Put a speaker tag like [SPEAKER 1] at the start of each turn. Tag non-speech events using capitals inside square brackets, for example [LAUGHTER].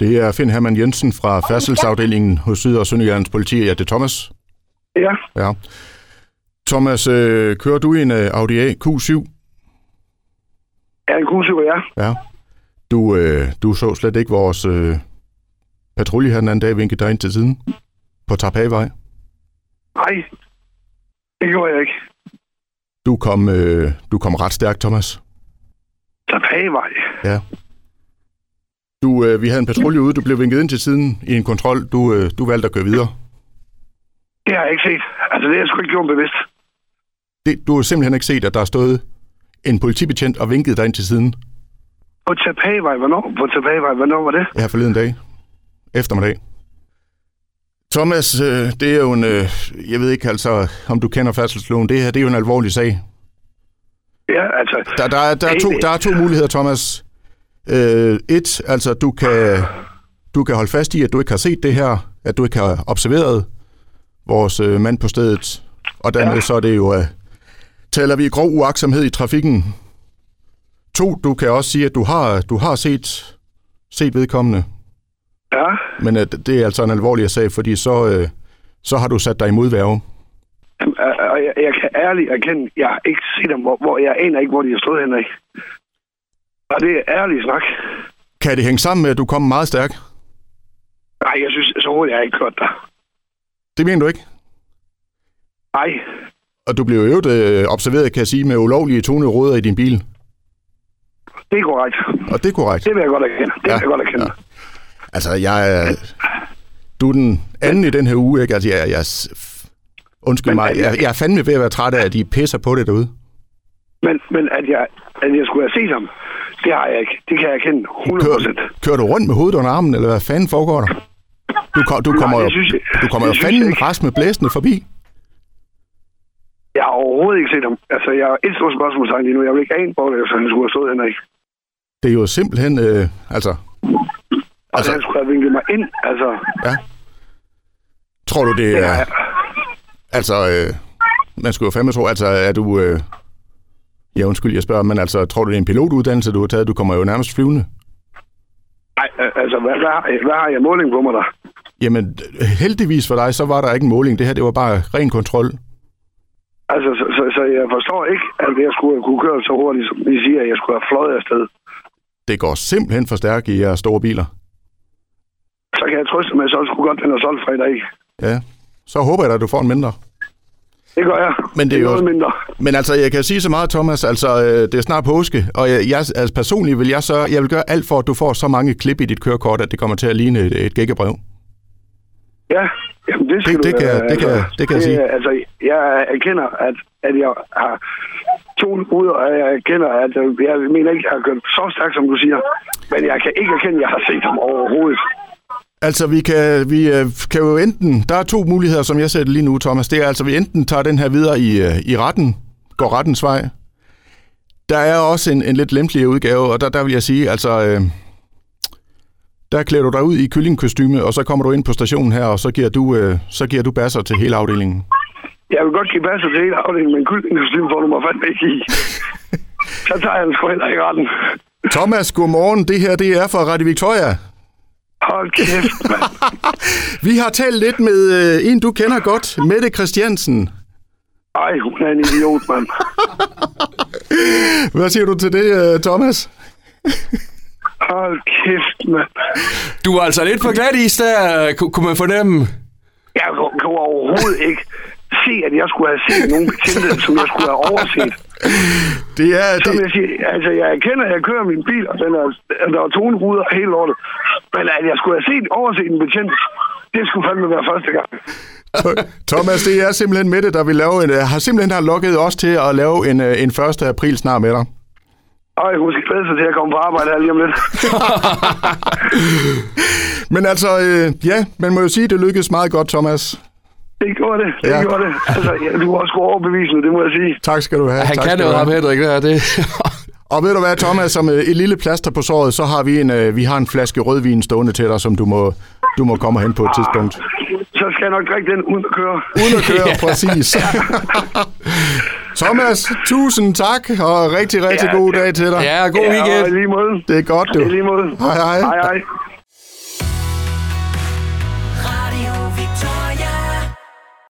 [SPEAKER 1] Det er Finn Hermann Jensen fra færdselsafdelingen hos Syd- og Sønderjyllands politi. Ja, det er Thomas.
[SPEAKER 2] Ja,
[SPEAKER 1] Ja. Thomas, øh, kører du i en øh, Audi A Q7?
[SPEAKER 2] jeg er en kusiver, ja.
[SPEAKER 1] Ja. Du, øh, du så slet ikke vores øh, patrulje her den anden dag vinke dig ind til siden på Tarpagevej.
[SPEAKER 2] Nej, det gjorde jeg ikke.
[SPEAKER 1] Du kom, øh, du kom ret stærkt, Thomas.
[SPEAKER 2] Tapagevej.
[SPEAKER 1] Ja. Du, øh, vi havde en patrulje ude, du blev vinket ind til siden i en kontrol. Du, øh, du valgte at køre videre.
[SPEAKER 2] Det har jeg ikke set. Altså, det har jeg sgu ikke gjort bevidst.
[SPEAKER 1] Det, du har simpelthen ikke set, at der har stået en politibetjent og vinket dig ind til siden
[SPEAKER 2] På Tapagevej, hvornår? På Tapagevej, hvornår var det?
[SPEAKER 1] her forleden dag. Eftermiddag. Thomas, øh, det er jo en, øh, jeg ved ikke altså, om du kender færdselsloven. Det her, det er jo en alvorlig sag.
[SPEAKER 2] Ja, altså...
[SPEAKER 1] Der, der, er, der, er, to, der er to muligheder, Thomas. Øh, et, altså du kan, du kan holde fast i, at du ikke har set det her, at du ikke har observeret vores øh, mand på stedet, og dermed ja. så er det jo, øh, taler vi grov uaksomhed i trafikken. To, du kan også sige, at du har, du har set, set vedkommende,
[SPEAKER 2] Ja,
[SPEAKER 1] men at det er altså en alvorlig sag, fordi så, øh, så har du sat dig i modværge.
[SPEAKER 2] Jamen, og- og jeg, jeg kan ærligt erkende, jeg har ikke set dem, hvor, hvor jeg aner ikke, hvor de har stået henne. af. Og det er ærlig snak.
[SPEAKER 1] Kan det hænge sammen med, at du kom meget stærk?
[SPEAKER 2] Nej, jeg synes, så hurtigt har jeg ikke kørt der.
[SPEAKER 1] Det mener du ikke?
[SPEAKER 2] Nej,
[SPEAKER 1] Og du blev i øvrigt øh, observeret, kan jeg sige, med ulovlige tonede ruder i din bil.
[SPEAKER 2] det er korrekt.
[SPEAKER 1] Og det er korrekt.
[SPEAKER 2] Det vil jeg godt erkende. Det
[SPEAKER 1] Ja,
[SPEAKER 2] vil jeg godt erkende.
[SPEAKER 1] ja. Altså, jeg er... Du er den anden i den her uge, ikke? Altså, jeg, jeg s- f- Undskyld mig, jeg, jeg er fandme ved at være træt af, at I pisser på det derude.
[SPEAKER 2] Men, men at, jeg, at jeg skulle have set ham, det har jeg ikke. Det kan jeg erkende 100
[SPEAKER 1] Kører,
[SPEAKER 2] procent.
[SPEAKER 1] kører du rundt med hovedet under armen, eller hvad fanden foregår der? Du, kom, du
[SPEAKER 2] Nej,
[SPEAKER 1] kommer,
[SPEAKER 2] det
[SPEAKER 1] jo,
[SPEAKER 2] synes jeg-
[SPEAKER 1] du kommer jo
[SPEAKER 2] det synes jeg
[SPEAKER 1] fanden
[SPEAKER 2] ikke.
[SPEAKER 1] rask med blæsende forbi.
[SPEAKER 2] Jeg har overhovedet ikke set ham. Altså, jeg har et stort spørgsmålstegn lige nu. Jeg vil ikke ane, hvor det, han skulle have stået Altså, henne. af.
[SPEAKER 1] Det er jo simpelthen... Øh, altså,
[SPEAKER 2] Og altså,
[SPEAKER 1] Altså-
[SPEAKER 2] han skulle have vinklet mig ind. Altså,
[SPEAKER 1] ja. Tror du, det
[SPEAKER 2] ja.
[SPEAKER 1] er... Altså, øh, man skulle jo fandme tro, altså er du... Øh, ja, undskyld, jeg spørger, men altså, tror du, det er en pilotuddannelse, du har taget? Du kommer jo nærmest flyvende.
[SPEAKER 2] Nej, altså, hvad, hvad, har- hvad har jeg måling på mig der?
[SPEAKER 1] Jamen, heldigvis for dig, så var der ikke en måling. Det her, det var bare ren kontrol.
[SPEAKER 2] Altså, så, så, så jeg forstår ikke, at jeg skulle kunne køre så hurtigt, som I siger, at jeg skulle have fløjet afsted.
[SPEAKER 1] Det går simpelthen for stærkt i jeres store biler.
[SPEAKER 2] Så kan jeg trøste mig, at så skulle godt den er solgt fra i dag.
[SPEAKER 1] Ja, så håber jeg da, at du får en mindre.
[SPEAKER 2] Det gør jeg.
[SPEAKER 1] Men det er jo-
[SPEAKER 2] noget mindre.
[SPEAKER 1] Men altså, jeg kan sige så meget, Thomas, altså, øh, det er snart påske, og jeg, jeg, altså, personligt vil jeg så, jeg vil gøre alt for, at du får så mange klip i dit kørekort, at det kommer til at ligne et, et gækkebrev.
[SPEAKER 2] Ja, jamen, det skal
[SPEAKER 1] Det- det
[SPEAKER 2] du,
[SPEAKER 1] kan jeg-
[SPEAKER 2] øh,
[SPEAKER 1] det kan jeg- det kan jeg sige.
[SPEAKER 2] øh, Altså, jeg erkender, at, at jeg har to ud, og jeg erkender, at øh, jeg mener ikke, at jeg har kørt så stærkt, som du siger. Men jeg kan ikke erkende, at jeg har set ham overhovedet.
[SPEAKER 1] Altså, vi kan, vi øh, kan jo enten... Der er to muligheder, som jeg ser det lige nu, Thomas. Det er altså, vi enten tager den her videre i, øh, i retten, går rettens vej. Der er også en, en lidt lempeligere udgave, og der, der vil jeg sige, altså... Øh, der klæder du dig ud i kyllingkostyme, og så kommer du ind på stationen her, og så giver du, øh, så giver du basser til hele afdelingen.
[SPEAKER 2] Jeg vil godt give passet til hele afdelingen, men kyldingekostymen får du mig fandme
[SPEAKER 1] [LAUGHS]
[SPEAKER 2] ikke i. så tager jeg den sgu heller ikke retten.
[SPEAKER 1] Thomas, godmorgen. Det her, det er fra Radio Victoria.
[SPEAKER 2] Hold kæft, mand.
[SPEAKER 1] Vi har talt lidt med øh, en, du kender godt, Mette Christiansen.
[SPEAKER 2] Ej, hun er en idiot, mand.
[SPEAKER 1] Hvad siger du til det, øh, Thomas?
[SPEAKER 2] Hold kæft, mand.
[SPEAKER 3] Du var altså lidt på glat is der, ku- kunne man fornemme.
[SPEAKER 2] Jeg kunne overhovedet ikke se, at jeg skulle have set nogen betjente, som jeg skulle have overset.
[SPEAKER 1] Det er, det,
[SPEAKER 2] Som jeg siger, altså jeg erkender, at jeg kører min bil, og den er, der er toneruder og hele lortet. Men at jeg skulle have set overset en betjent, det skulle fandme være første gang.
[SPEAKER 1] Thomas, det er simpelthen Mette, der vil lave en, øh, har simpelthen har lukket os til at lave en, øh, en 1. april snart med dig.
[SPEAKER 2] Ej, hun skal glæde sig til at komme på arbejde her lige om lidt.
[SPEAKER 1] Men altså, øh, ja, man må jo sige, det lykkedes meget godt, Thomas.
[SPEAKER 2] Det gjorde det, det
[SPEAKER 1] Ja.
[SPEAKER 2] ja. gjorde det. Altså, ja, du var sgu overbevisende, det må jeg sige.
[SPEAKER 1] Tak skal du have.
[SPEAKER 3] Han
[SPEAKER 1] tak
[SPEAKER 3] kan
[SPEAKER 1] skal
[SPEAKER 3] noget,
[SPEAKER 1] du
[SPEAKER 3] ham
[SPEAKER 1] have.
[SPEAKER 3] Henrik der. Det. [LAUGHS]
[SPEAKER 1] Og ved du hvad, Thomas, som øh, et lille plaster på såret, så har vi en, øh, vi har en flaske rødvin stående til dig, som du må, du må komme hen på et tidspunkt.
[SPEAKER 2] Så skal jeg nok drikke den uden at køre.
[SPEAKER 1] Uden at
[SPEAKER 3] [LAUGHS]
[SPEAKER 1] køre, præcis. Thomas, tusind tak, og rigtig, rigtig
[SPEAKER 2] Ja,
[SPEAKER 1] god dag til dig.
[SPEAKER 3] ja, god weekend.
[SPEAKER 2] Ja, og i lige måde.
[SPEAKER 1] Det er godt, du.
[SPEAKER 2] I lige måde.
[SPEAKER 1] Hej, hej.
[SPEAKER 2] Hej, hej.